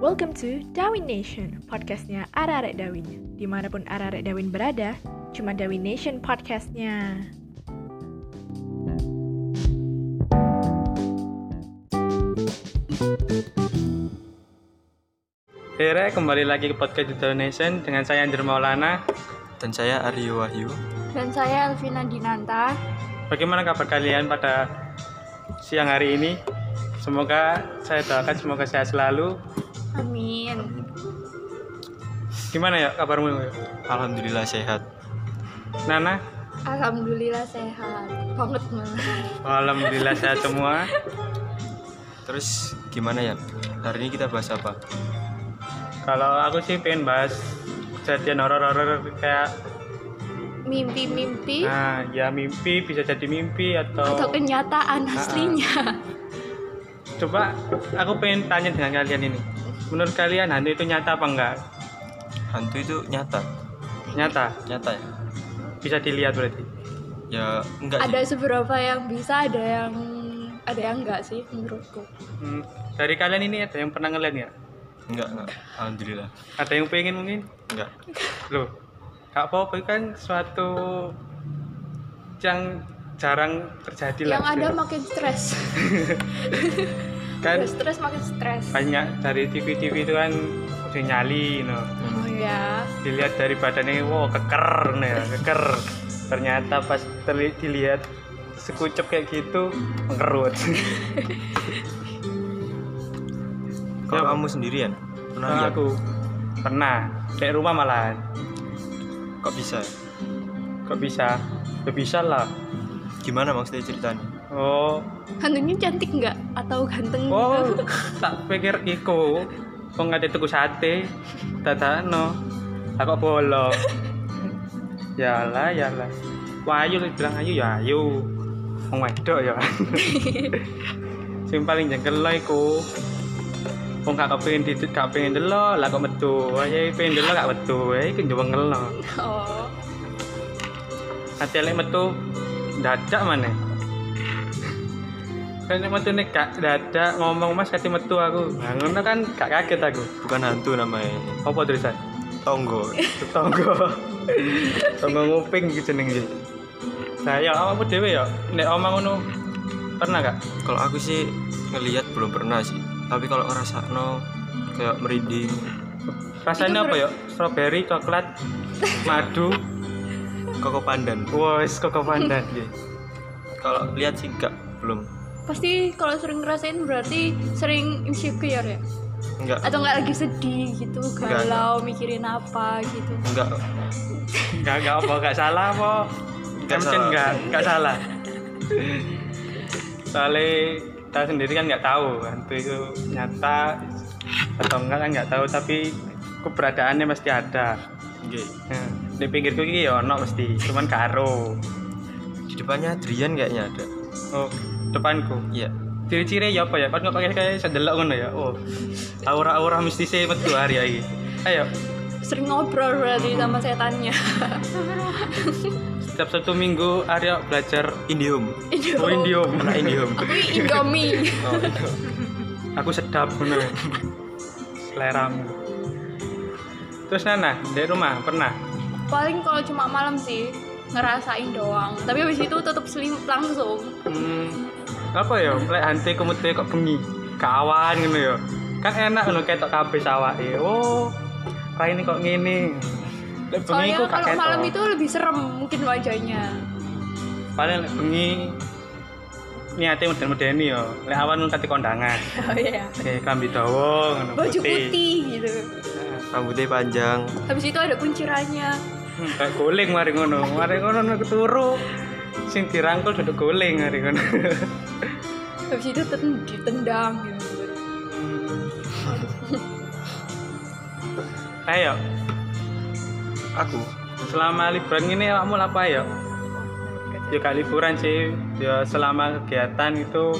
Welcome to Darwin Nation, podcastnya Ararek Dawin. Dimanapun Ararek Dawin berada, cuma Dawin Nation podcastnya. Hera kembali lagi ke podcast The Donation dengan saya Andrew Maulana. dan saya Aryo Wahyu. Dan saya Elvina Dinanta. Bagaimana kabar kalian pada siang hari ini? Semoga saya doakan semoga sehat selalu. Amin. Gimana ya kabarmu? Yuk? Alhamdulillah sehat. Nana? Alhamdulillah sehat. Banget malah. Alhamdulillah sehat semua. Terus gimana ya? Hari ini kita bahas apa? Kalau aku sih pengen bahas kejadian horor-horor kayak Mimpi-mimpi nah ya mimpi bisa jadi mimpi atau, atau kenyataan Ah, aslinya. coba aku pengen tanya dengan kalian ini. Menurut kalian hantu itu nyata apa enggak? Hantu itu nyata, Nyata. nyata ya? Bisa dilihat berarti. Ya enggak ada sih. seberapa yang bisa, ada yang ada yang enggak sih menurutku. Hmm, dari kalian ini ada yang pernah ngeliat nggak? Enggak, enggak. Alhamdulillah. Ada yang pengen mungkin? Enggak. Loh, Kak Pop itu kan suatu yang jarang terjadi lah. yang ada makin stres. kan Udah stres makin stres. banyak dari TV-TV itu kan udah nyali, no. Hmm. Oh ya. dilihat dari badannya, wow keker, no, ya, keker. Ternyata pas terli- dilihat sekucep kayak gitu, mengerut. Kalau Ya. kamu Iya, sendirian, pernah Nah, lihat? aku pernah kayak rumah malahan. Kok bisa? Kok bisa? Ya bisa lah. Gimana maksudnya ceritanya? Oh, Hantunya cantik enggak atau ganteng Oh, gitu? tak pikir iku. Wong ngate tuku sate, dadakno. Lah kok bolong. Yalah, yalah. Wah, ayo lu bilang ayo ya ayo. Wong wedok ya. Sing paling jengkel lah iku. Wong gak kepengin ditit, gak pengen delok, lah kok metu. Ayo pengen delok gak metu. Eh, iku jengkel lah. Oh. Ate lek metu dadak maneh. Kan nek metu nek gak dadak ngomong Mas kate metu aku. Nah ngono kan gak kaget aku. Bukan hantu namanya. Apa tulisan? Tonggo. Tetangga. Tetangga nguping iki jeneng iki. Nah ya awakmu dhewe ya nek omong ngono pernah gak? Kalau aku sih ngelihat belum pernah sih. Tapi kalau ngerasakno kayak merinding. Rasanya Itu apa ber- ya? Strawberry, coklat, madu, Koko pandan. wes koko pandan. Iya. Kalau lihat sih enggak, belum. Pasti kalau sering ngerasain berarti sering insecure ya. Enggak. Atau enggak lagi sedih gitu, Enggak, galau, mikirin apa gitu. Enggak. Enggak enggak apa enggak salah apa. Nggak Enggak salah. enggak enggak salah. Soalnya kita sendiri kan nggak tahu hantu itu nyata atau enggak kan nggak tahu tapi keberadaannya mesti ada. Nggih. Nah, di pinggirku ini ya ono mesti, cuman karo. Di depannya Adrian kayaknya ada. Oh, depanku. Iya. Ciri-ciri ya apa ya? Kan kok kayak kayak sedelok ngono ya. Oh. Aura-aura mistisnya metu hari iki. Ayo, sering ngobrol berarti sama setannya setiap satu minggu Arya belajar Indium. Oh, Indo- Oh. Windium. Anak Indium. aku Indomie Oh, itu. aku sedap bener seleramu terus Nana di rumah pernah paling kalau cuma malam sih ngerasain doang tapi habis itu tutup selim langsung hmm, apa ya lek hantu kemute kok bengi kawan gitu ya kan enak ngono ketok kabeh awake oh kayak ini kok ngene lek bengi soalnya kok gak kalau ketok. malam itu lebih serem mungkin wajahnya paling lek bengi niate meden-medeni ya lek awan nanti kondangan oh iya kayak klambi dawa ngono Nah, baju putih gitu Rambutnya panjang. habis itu ada kuncirannya Hmm, kayak guling mari ngono mari ngono nek turu sing dirangkul duduk guling mari ngono habis itu ten- ditendang gitu ayo Aku selama liburan ini kamu apa ya ya gak liburan sih ya selama kegiatan itu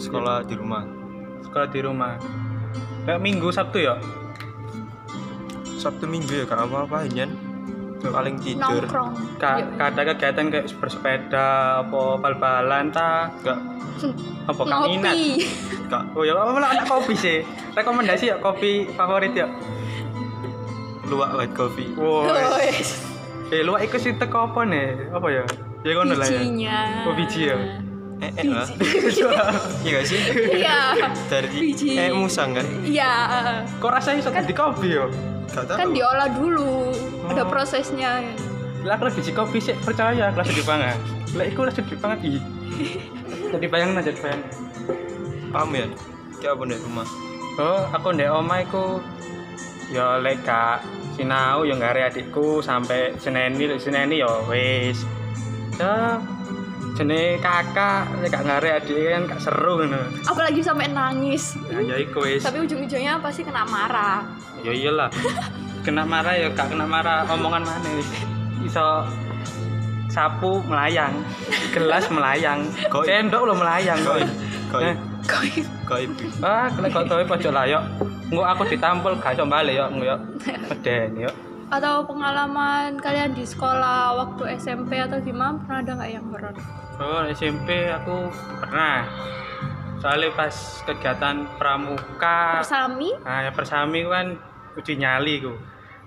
sekolah di rumah. sekolah di rumah kayak minggu sabtu ya Sabtu Minggu ya gak apa-apa Yan. paling tidur nongkrong Ka Iya. ada kegiatan kayak bersepeda apa bal-balan ta nggak apa kaminat ngopi nggak oh ya apa lah anak kopi sih rekomendasi ya kopi favorit ya luak white coffee wow Wes. eh lu ikut sih teko apa nih apa ya ya kono lah ya bijinya Oh, biji ya? eh eh lah iya gak sih iya dari Biji. eh musang kan iya kok rasanya bisa di kopi ya nggak tahu kan diolah dulu ada Oh. prosesnya lah aku lebih kopi sih percaya aku lebih pangan lah aku lebih pangan ih jadi bayangin aja bayangin paham ya kayak apa dari rumah Oh, aku ndek oma iku ya lek gak sinau ya gak adikku sampai seneni lek seneni ya wis. Ya jenenge kakak lek gak ngare adik kan gak seru ngono. apalagi sampai nangis Nah, ya iku wis. tapi ujung-ujungnya pasti kena marah Ya iyalah. kena marah ya gak kena marah omongan mana wis. Iso sapu melayang, gelas melayang, Koi. sendok lo melayang koi. gaib Eh, gaib Koi. gaib Wah, lek kok kowe pojok lah yo. Engko aku ditampol gak iso bali yo, engko yo. Meden yo. atau pengalaman kalian di sekolah waktu SMP atau gimana pernah ada nggak yang horor Oh, SMP aku pernah. Soalnya pas kegiatan pramuka, persami nah ya persami ku kan uji nyali ku.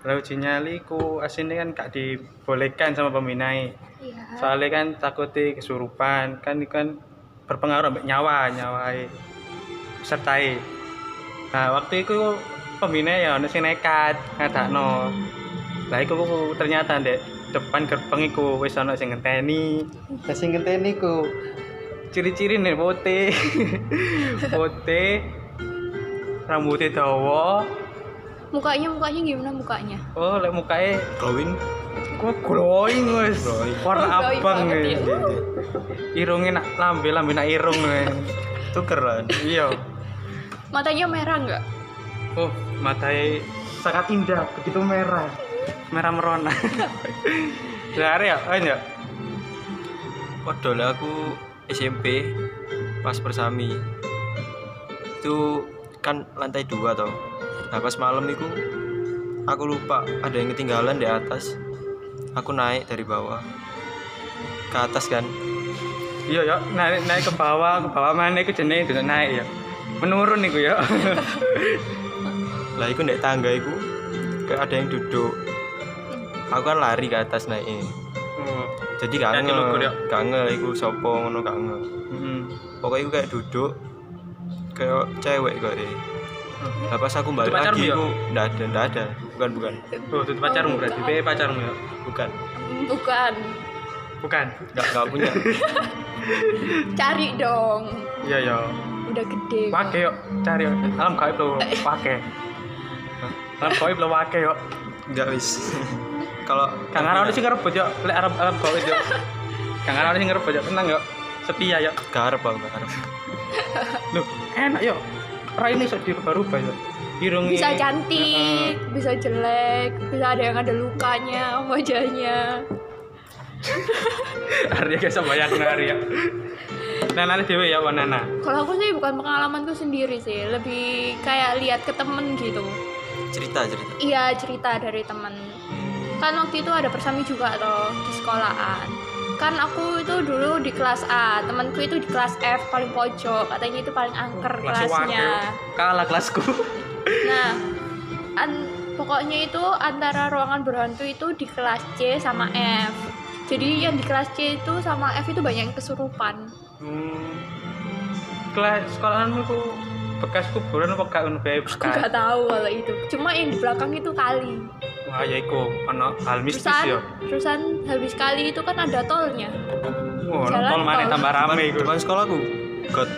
Kalau uji nyali ku aslinya kan gak dibolehkan sama pembinai. iya Soalnya kan takutnya kesurupan, kan itu kan berpengaruh sampai nyawa, nyawai sertai. Nah, waktu itu pembina ya ono sing nekat ngadakno. Lah iku ku- ternyata ndek depan gerbang iku wis ono sing ngenteni. Lah sing ngenteni ku ciri-ciri nih putih. putih rambutnya dawa. mukanya mukanya gimana mukanya Oh, lek mukanya kawin kok glowing wis. Glowing. Warna Oh, glowing abang. banget wis. ya. Irungnya nak lambe lambe nak irung. wis. tuker lah Iya. matanya merah nggak Oh, matanya sangat indah, begitu merah. Merah merona. Lari ya, kan ya? Waduh lah aku SMP pas persami itu kan lantai dua toh nah pas malam itu aku lupa ada yang ketinggalan di atas aku naik dari bawah ke atas kan Iya, ya. Naik, naik ke bawah, ke bawah mana iku jenenge duduk naik ya. Menurun iku ya. lah itu naik tangga itu kayak ada yang duduk aku kan lari ke atas naiknya Oh, jadi Yakin kangen lu, Gudok? kangen iku sopo ngono kangen mm. pokoknya aku kayak duduk kayak cewek kok deh nah pas aku balik Hmm. Itu pacarmu lagi ya? aku nggak ada nggak ada bukan bukan Oh, itu pacarmu berarti. Be pacarmu ya. bukan bukan Bukan. nggak nggak punya cari dong Iya, ya. udah gede Pakai yuk, cari yuk. Alam gaib lo pakai. Alam gaib lo pakai yuk. nggak wis kalau Kang Arab sih ngerebut yuk. Lek Arab Arab gaib yuk. Kang Arab sih ngerebut yuk. Tenang yuk. Setia yuk. garap aku garap Loh, enak ya. yo. Raine iso dirubah-rubah yo. Irunge bisa cantik bisa jelek bisa ada yang ada lukanya wajahnya Arya guys bayang Arya. Nanane dhewe ya wanana. kalau aku sih bukan pengalamanku sendiri sih lebih kayak lihat ke temen gitu cerita cerita iya cerita dari temen kan waktu itu ada persami juga toh di sekolahan kan aku itu dulu di kelas A temanku itu di kelas F paling pojok katanya itu paling angker kelasnya Kalah kelasku. nah an- pokoknya itu antara ruangan berhantu itu di kelas C sama F jadi yang di kelas C itu sama F itu banyak yang kesurupan Hmm. Kelas sekolahanmu ku bekas kuburan apa gak ono bae aku nggak bekas. tahu kalau itu cuma yang di belakang itu kali Wah, ya iku ono hal mistis ya. terusan yo. terusan habis kali itu kan ada tolnya Wah, Jalan tol maneh tol. tambah rame iku. depan sekolah aku got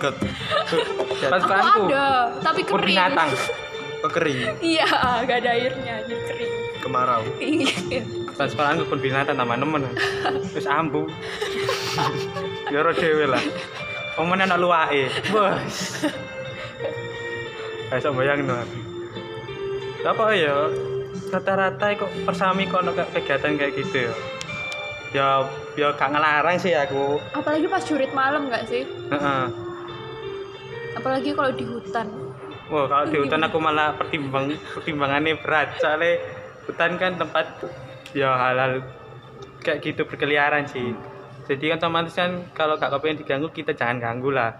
got Pas aku sekolahanku ada tapi kebun kering binatang. kering Iya, gak ada airnya, jadi kering. kemarau Iya. Pas sekolahanku kebun binatang tambah nemen. Wis ambu. Yo ro dhewe lah. Omone anak luwake. Bos. Kayak bayang no. Apa ya? Rata-rata kok persami kok ono kayak kegiatan kayak gitu ya. Ya ya gak ngelarang sih aku. Apalagi pas jurit malam gak sih? Heeh. Apalagi kalau di hutan. Wah, kalau di hutan aku malah pertimbang pertimbangannya berat soalnya hutan kan tempat ya halal kayak gitu berkeliaran sih jadi kan otomatis kan kalau gak kepengen diganggu kita jangan ganggu lah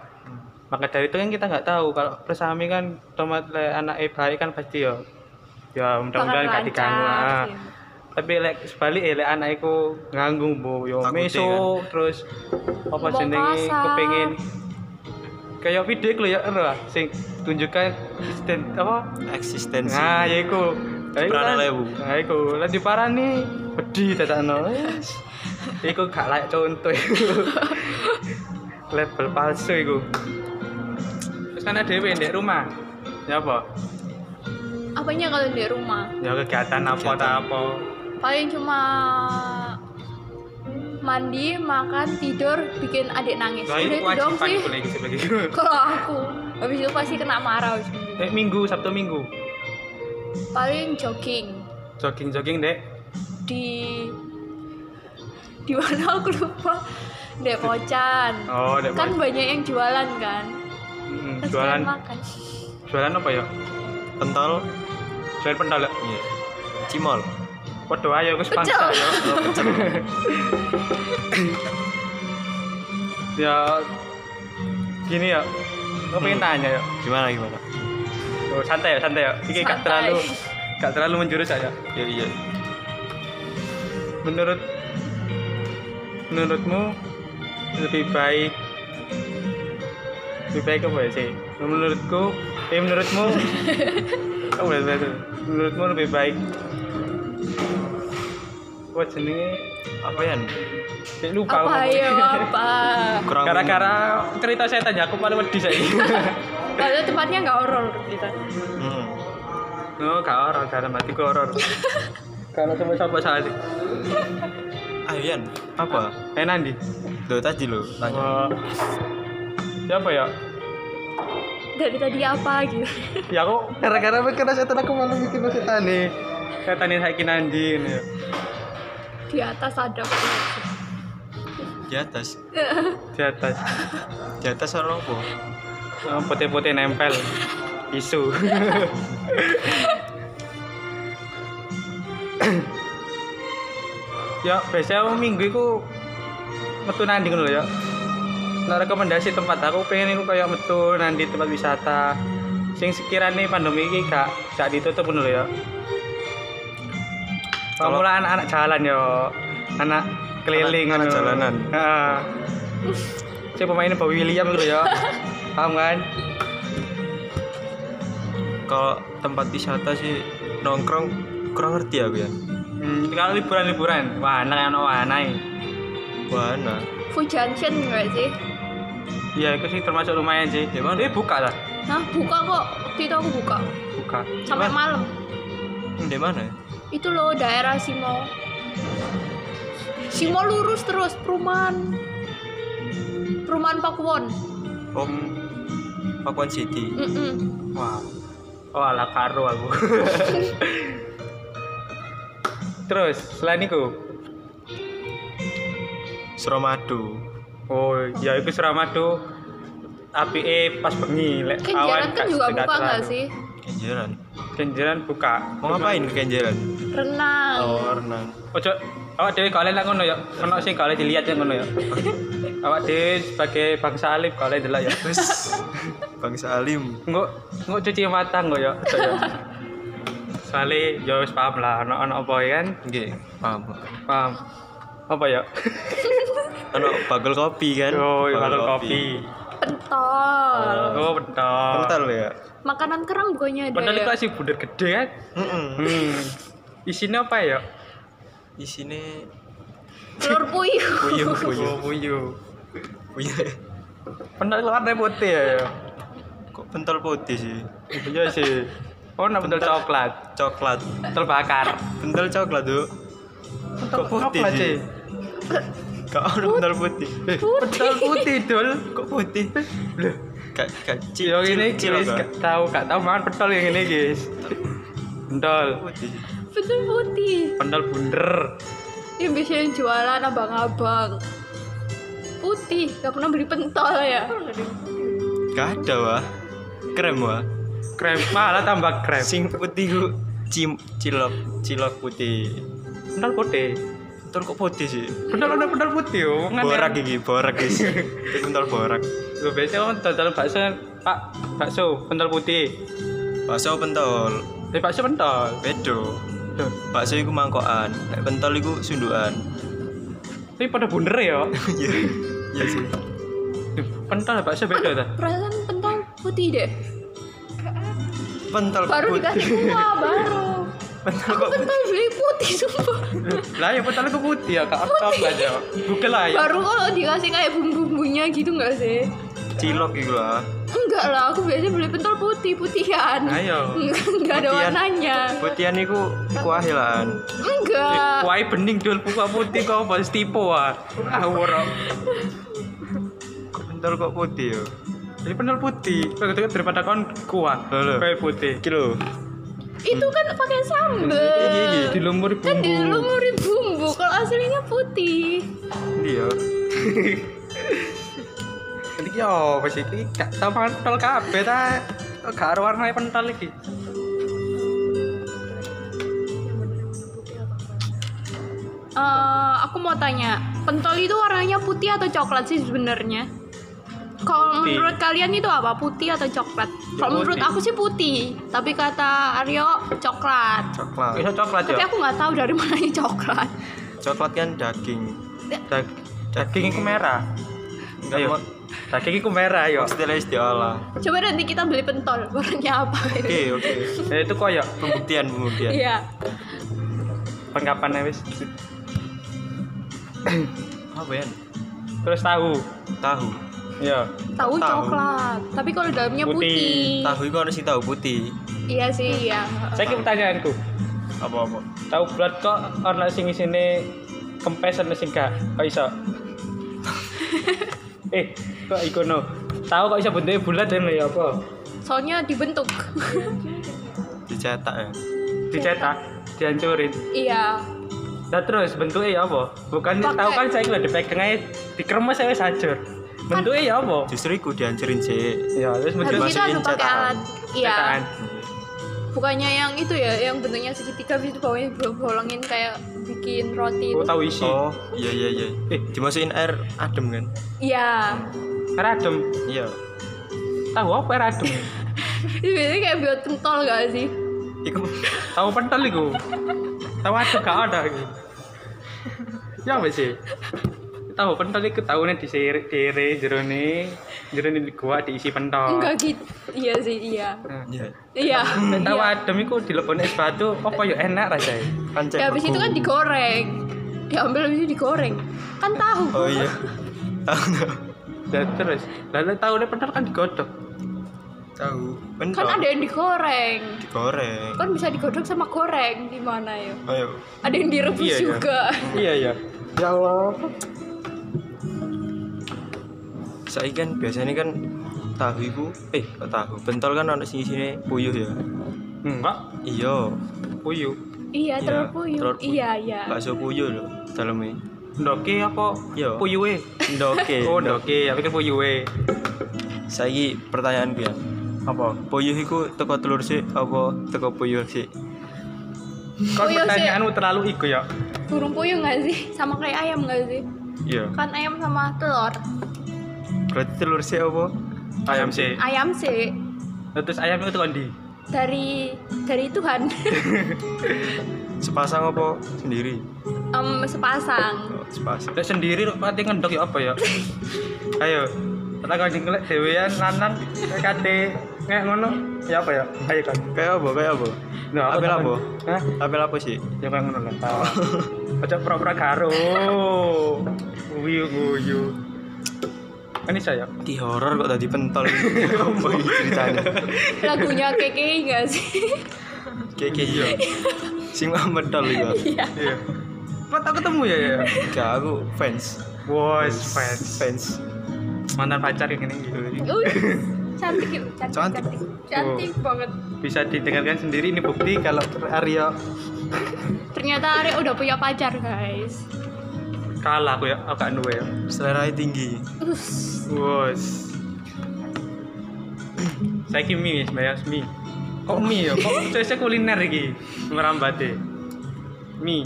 maka dari itu kan kita nggak tahu kalau persami kan tomat anak eh baik kan pasti ya ya mudah-mudahan gak diganggu ah. gitu. tapi lek sebalik lek anak iku nganggu bu yo Takutnya meso terus apa Ngomong jenenge kasar. kepengin kayak video iku lho ya ero lah, sing tunjukkan stand apa eksistensi nah ya iku Ya iku Diparani kan. lah, Bu. nah iku lah diparani wedi tetakno iku gak layak contoh iku label palsu iku terus kan ada dhewe ndek rumah ya apa apanya kalau di rumah ya kegiatan apa Kegiatan. tak apa paling cuma mandi makan tidur bikin adik nangis Nah, udah itu itu dong kewajiban sih iku nek iku sebagai kalau aku habis itu pasti kena marah ujung-ujungnya. Eh, minggu, Sabtu minggu. paling jogging Jogging-jogging, Dek. di di mana aku lupa Dek Pocan Oh, Dek. kan banyak yang jualan kan Mm, Terus jualan kalian makan jualan apa ya? pentol Jualan pentol. ya? iya cimol Waduh, ayo wis Pecel. bangsa ya. ya gini ya. Gue pengen Hmm. tanya ya. gimana gimana Tuh, santai ya, santai ya. Iki gak Santai. terlalu gak terlalu menjurus aja. iya iya Menurut menurutmu lebih baik lebih baik apa ya sih? Menurutku, eh menurutmu, oh, betul, betul. menurutmu lebih baik Wah jenenge apa ya Saya lupa apa ngomongnya. ya apa kurang Gara-gara cerita saya tanya aku paling wedi saya. padahal tempatnya nggak horor kita Hmm. No, gak horor, dalam hatiku horor. Kalau sama siapa salah sih? ah Yan apa Eh Nandi. Loh tadi lo tanya Wah. Siapa ya? dari tadi apa gitu Ya aku gara-gara mikir "Nah, setan aku malah mikir setan nih. Setan ini saya Nandi ini. ya. di atas ada apa gitu. di atas Di atas. di atas orang apa Oh, Putih-putih nempel. Isu. ya biasanya aku minggu itu metu nandi ngono lho ya nah, rekomendasi tempat aku pengen itu kayak metu nandi tempat wisata sing sekiranya pandemi ini gak gak ditutup ngono lho ya kalau Kalau- mulai anak-anak jalan yo anak keliling Anak- anak ngono. jalanan. heeh si pemainnya Bob William gitu ya paham kan kalau tempat wisata sih nongkrong kurang ngerti aku ya hmm, kalau liburan-liburan wah anak anak wah anak wahana Food Junction nggak sih Iya, itu sih termasuk lumayan sih. Ya, mana? Eh, buka lah. nah buka kok waktu itu aku buka Buka. sampai Cuman- malam hmm, di mana itu loh daerah Simo Simo lurus terus perumahan perumahan Pakuwon om Pakuan City Mm-mm. Wah. Oh, ala karo aku. Terus, selain itu. Suramadu Oh, ya itu Suramadu. Api pas bengi lek Kenjeran kan gak juga sedekat buka nggak terlalu. sih Kenjeran Kenjeran buka. mau ngapain ke Kenjeran renang oh renang Ojo awak dhewe kalian lah ngono ya. Ono sing kalian dilihat yang ngono ya. awak dhewe sebagai bangsa alif kalian delok ya. terus Bangsa Alim Nggak, nggak cuci mata nggak ya. Ojo ya. Soalnya, ya wis paham lah, ono-ono apa ya kan. Oke, paham. Paham. Apa ya? Ano bagel kopi kan? Oh, bakal kopi. pentol Oh, pentol. Kental ya? makanan kerang bukannya ada Pentol itu ya? asli bundar gede kan? Heeh. Hmm. Isinya apa ya? Di sini telur puyuh puyuh Oh, puyuh puyuh. puyuh. Pentol itu warna putih ya. ya? Kok pentol putih sih? Iya sih. Oh, nah pentol Pentol. coklat, Coklat. pentol bakar. Pentol coklat tuh. Kok putih coklat sih? sih? Kok ono pentol putih? Eh, Pentol putih, Dul. kok putih? Loh, Kak kak yo ini guys, kak. gak tahu, gak tahu makan pentol yang ini, guys. Pentol, Putih. sih. betul putih pentol bunder. yang biasanya jualan abang-abang putih gak pernah beli pentol ya Gak ada wah. Krem wah. Krem malah tambah krem. Sing putih ku cim cilok cilok putih Bentar putih. Bentar kok putih sih Bentar ada bentar putih. yo. Ngan- borak gigi borak guys itu bentar borak Lho biasanya orang dodol bakso kan, Pak, bakso pentol putih. bakso pentol Eh bakso pentol. bedo Duh, bakso iku mangkokan nek pentol iku sundukan Tapi pada bunder ya. iya iya sih Duh, Pentol sama bakso beda ta. perasaan pentol putih deh pentol baru putih. dikasih kuah baru pentol aku kok putih pentol beli putih sumpah Lah ya pentol itu putih ya, kak apa aja. Google lah ya. baru kalau dikasih kayak bumbu-bumbunya gitu nggak sih cilok iku lah enggak lah aku biasanya beli pentol putih putihan Ayo. enggak enggak ada Putihan. warnanya putihan iku kuahilan enggak Wah, bening jual buka putih kau pas tipu ah. Ah, woro. pentol kok putih yo Jadi pentol putih. Begitu daripada kon kuah. Lho, lho. Kayak putih. iki lho itu kan pakai Iya, iya, sambel dilumuri kan bumbu. dilumuri bumbu kalau aslinya putih Ndi Iya. yo Jadi yo, pas iki gak tau pentol kabeh ta. Kok Gak ada warna pentol iki. Eh, aku mau tanya pentol itu warnanya putih atau coklat sih sebenarnya kalau Putih. menurut kalian itu apa putih atau coklat Ya, kalau menurut putih. aku sih putih tapi kata Aryo coklat Bisa coklat coklat tapi ya. aku nggak tahu dari mana ini coklat coklat kan daging Ya. Dag- Daging iku merah. enggak Ayo. mau Daging iku merah yo. istilah istiolah coba nanti kita beli pentol warnanya apa oke oke Ya itu koyo pembuktian pembuktian iya pengkapan wis apa ya terus tahu. tahu Iya. tahu Tahu. coklat tapi kalau dalamnya Putih. putih, tahu itu harus tahu putih iya sih iya Saya ki pertanyaanku. apa apa Tahu bulat kok ana sing isine kempes ana sing gak kok iso. eh, kok iku no. Tahu kok iso bentuke bulat dan ya apa? soalnya dibentuk dicetak ya Dicetak, dihancurin. iya Nah terus bentuknya ya apa? Bukan Pakai. tahu kan saya lho dipegang ae dikremes ae wis hancur. Bentuknya ya apa? justru iku dihancurin sih Ya, terus bentuk habis itu harus dimasukin pakai cetakan. alat iya cetakan. bukannya yang itu ya yang bentuknya segitiga habis itu bawahnya bol- bolongin kayak bikin roti itu Oh, tahu isi. oh iya iya iya Eh, dimasukin air adem kan iya radem. iya Tahu apa ya radem? itu biasanya kayak buat pentol gak sih iku tahu pentol iku. Tahu adem gak ada iki. Ya apa sih? Tahu pentol iku tahune disirik kere jerone, jerone di gua diisi Oh. pentol. enggak gitu iya sih iya Nah, iya iya Tahu iya adem iku dilebone es batu, apa yo enak rasanya. kan cek ya habis itu beku. kan digoreng diambil habis itu digoreng kan tahu oh iya tahu tahu. Dan terus, lalu tahune pentol kan digodok. tahu kan pentol ada yang digoreng digoreng Oh, iya. kan bisa digodok sama goreng di mana ya ayo ada yang direbus Iya, iya. juga Iya ya. ya Allah saya kan biasanya kan tahu iku eh kok tahu pentol kan ada sini sini puyuh ya Enggak, iya puyuh. iya Iya, telur puyuh telur puyuh. iya iya bakso puyuh loh dalamnya Ndoke apa? Iya. Puyuhe. ndoke Oh, ndoke, aku pikir puyuhe. saiki pertanyaan pian Apa? puyuh iku teko telur sih apa teko puyuh sih Kok Puyuh sih. pertanyaanmu terlalu iku ya. burung puyuh nggak sih sama kayak ayam nggak sih iya kan ayam sama telur berarti telur sih apa Ayam sih. ayam sih Terus ayam itu kondi. dari dari Tuhan sepasang apa sendiri Em, sepasang oh, sepasang Lek sendiri kok pati ngendok ya apa ya? Ayo. Kita kan ngelek dhewean nanan kayak kate kayak ngono. Ya apa ya? Ayo kan. kayak apa kayak apa Nah, Apel takon- apa? Hah? apel apa sih Ya kayak ngono lah. Tawa. Ojo pura-pura karo. Uyu uyu. Ini saya. di horor kok tadi pentol apa ini ceritanya lagunya keke nggak sih kayak kayak iya sing mah pentol iku Iya. Kok tak ketemu ya ya? gak aku fans Wes fans. fans Mantan pacar yang ini gitu. Uy, cantik yuk Cantik. cantik cantik cantik, banget Bisa didengarkan sendiri ini bukti kalau Aryo ternyata Arya udah punya pacar guys kalah aku ya, aku gak duwe ya. selera tinggi Us. Wos. Saya kimi, saya mi. Kok mie ya? Kok saya kuliner iki merambate. Mie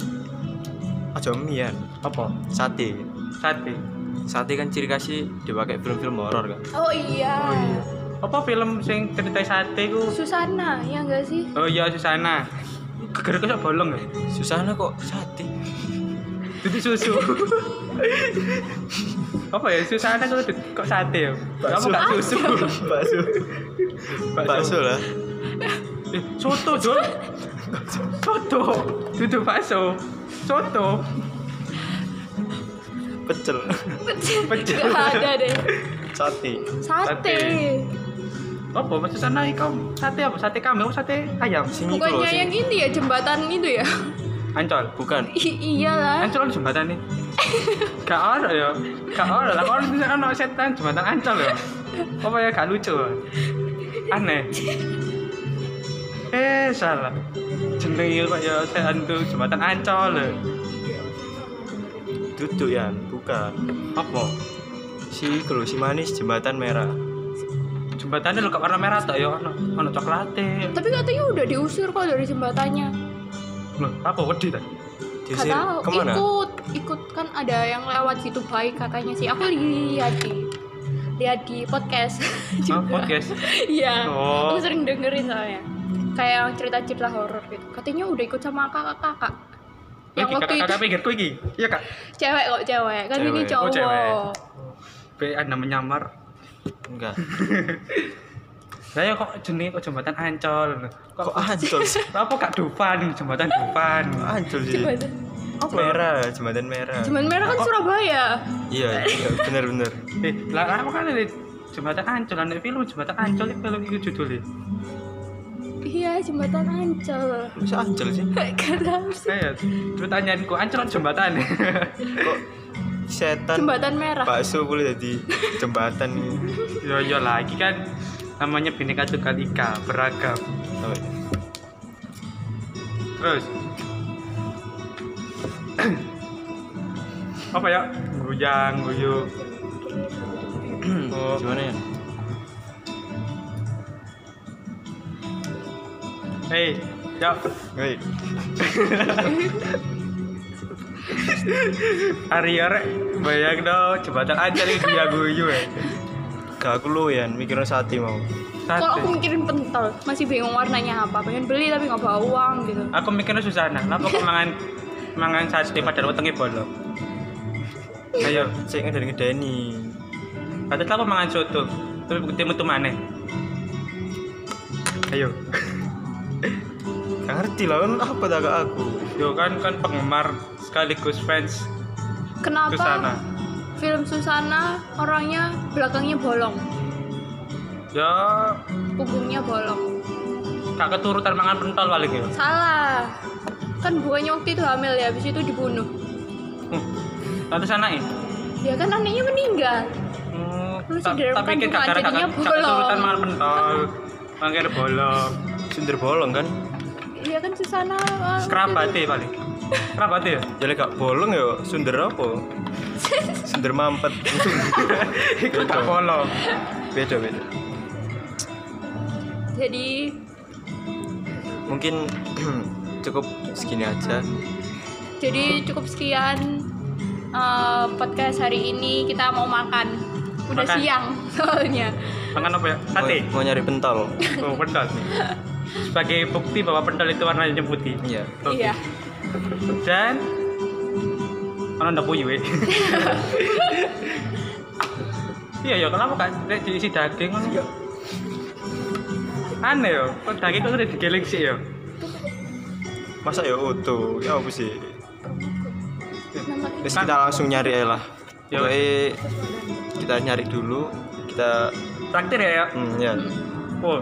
aja mie ya apa? sate Sate. sate kan ciri khasnya dipakai film-film horor kan Oh iya. Oh iya. Apa film sing cerita sate ku? Susana, ya enggak sih? Oh iya Susana. Gegerku kok bolong ya. susahnya kok sate Dadi susu. apa ya Susana kok kok sate ya? Kamu Bakso. gak susu. bakso bakso lah Eh, Soto, Jol. Soto. Duduk bakso. Soto. pecel Pecel. Enggak ada deh. sate Sate. Apa maksud sana ikom? Sate apa? Sate kambing, apa sate ayam. sini itu loh Bukannya sing- yang ini ya jembatan itu ya? Ancol. bukan I- iyalah. Ancol ada jembatan nih. Gak ada ya. Gak ada lah. Kalau bisa kan ada setan jembatan Ancol ya. Apa ya gak lucu. ya? Aneh. Eh salah. Jenenge kok ya setan tuh jembatan Ancol. ya. duduk ya bukan Apa? si iku loh, si manis jembatan merah Jembatannya lho gak warna merah tak ya ono ono coklate. Tapi katanya udah diusir kok dari jembatannya. Loh, apa wedi ta? Gak diusir tahu. kemana Ikut, ikut kan ada yang lewat gitu baik katanya sih. Aku lihat di lihat di podcast Ah, juga. podcast. Iya. Oh. Aku sering dengerin soalnya. Kayak cerita-cerita horor gitu. Katanya udah ikut sama kakak-kakak. Yang Iki waktu itu kakak-kakak pinggirku iki. Iya, Kak. cewek kok cewek. Kan ini Cewek. Oh, cowok. cewek. Be Anda menyamar. enggak Saya ya kok jenis kok jembatan Ancol. kok ancol sih apa Kak Dufan, jembatan Dufan. ancol sih Jembatan. merah jembatan merah Jembatan merah Oh. kan Surabaya. iya iya, bener-bener Eh, lah aku kan ada jembatan Ancol, ada film jembatan Ancol itu film itu judulnya. Iya, jembatan Ancol. masa ancol sih Gak tahu sih. Saya terus Eh, ya, tanyain ku Ancol apa jembatan. kok setan Jembatan merah. bakso boleh jadi jembatan yo yo lagi kan namanya Bhinneka Tunggal Ika, beragam. Apa ya? itu? Terus apa ya? Guyang, guyu. Oh. gimana ya Hei, ya Woi, hari ya rek bayang dong jembatan Ancol itu guyang guyu ya. gak aku lu ya mikirnya sate mau Kalau aku Satu. mikirin pentol, masih bingung warnanya apa. Pengen beli tapi nggak bawa uang gitu. Aku mikirnya Susana, kenapa kok mangan mangan sate padahal wetenge bolong. Ayo, cek dari ngedeni Kata aku mangan soto, tapi bukti metu maneh. Ayo. gak ngerti lah kan apa tak gak aku Yo kan kan penggemar sekaligus fans Kenapa Susana. film Susana orangnya belakangnya bolong, Ya punggungnya bolong? gak keturutan mangan pentol paling ya. Salah. Kan buahnya waktu itu hamil ya, habis itu dibunuh. Huh. Nanti sana ya. Ya kan anaknya meninggal. Hmm, Lu tak- sendiri tak kan pikir bukan, gak gara-gara jadinya gak bolong. keturutan mangan pentol. Mangkir bolong. sundel bolong kan Ya kan Susana. ah, Kerabate paling. Kerabate ya. jadi gak bolong ya sunder apa sunder mampet Iku gak bolong. beda beda Jadi mungkin cukup segini aja jadi cukup sekian eh, podcast hari ini kita mau makan. Udah Makan. siang soalnya. Mangan apa ya? Sate. mau, mau nyari pentol Oh, pentol. Sebagai bukti bahwa pentol itu warnanya putih. iya Oke. Iya. dan orang ndak puyuh eh. iya ya kenapa kan nek diisi daging kan aneh yo kok daging kok udah digiling sih yo masa ya utuh ya apa sih Nomor Terus kita langsung nyari aja lah Ya. Pokoknya kita nyari dulu kita traktir ya yo hmm, ya oh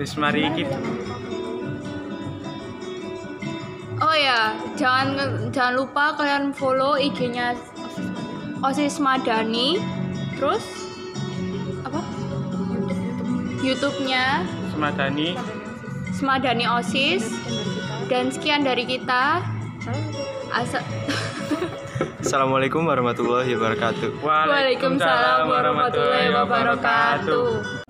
wis mari iki Oh ya, jangan jangan lupa kalian follow IG-nya Osis Madani. Terus apa? YouTube-nya semadani Semadani Osis. Dan sekian dari kita. Asa- assalamualaikum warahmatullahi wabarakatuh Waalaikumsalam warahmatullahi wabarakatuh.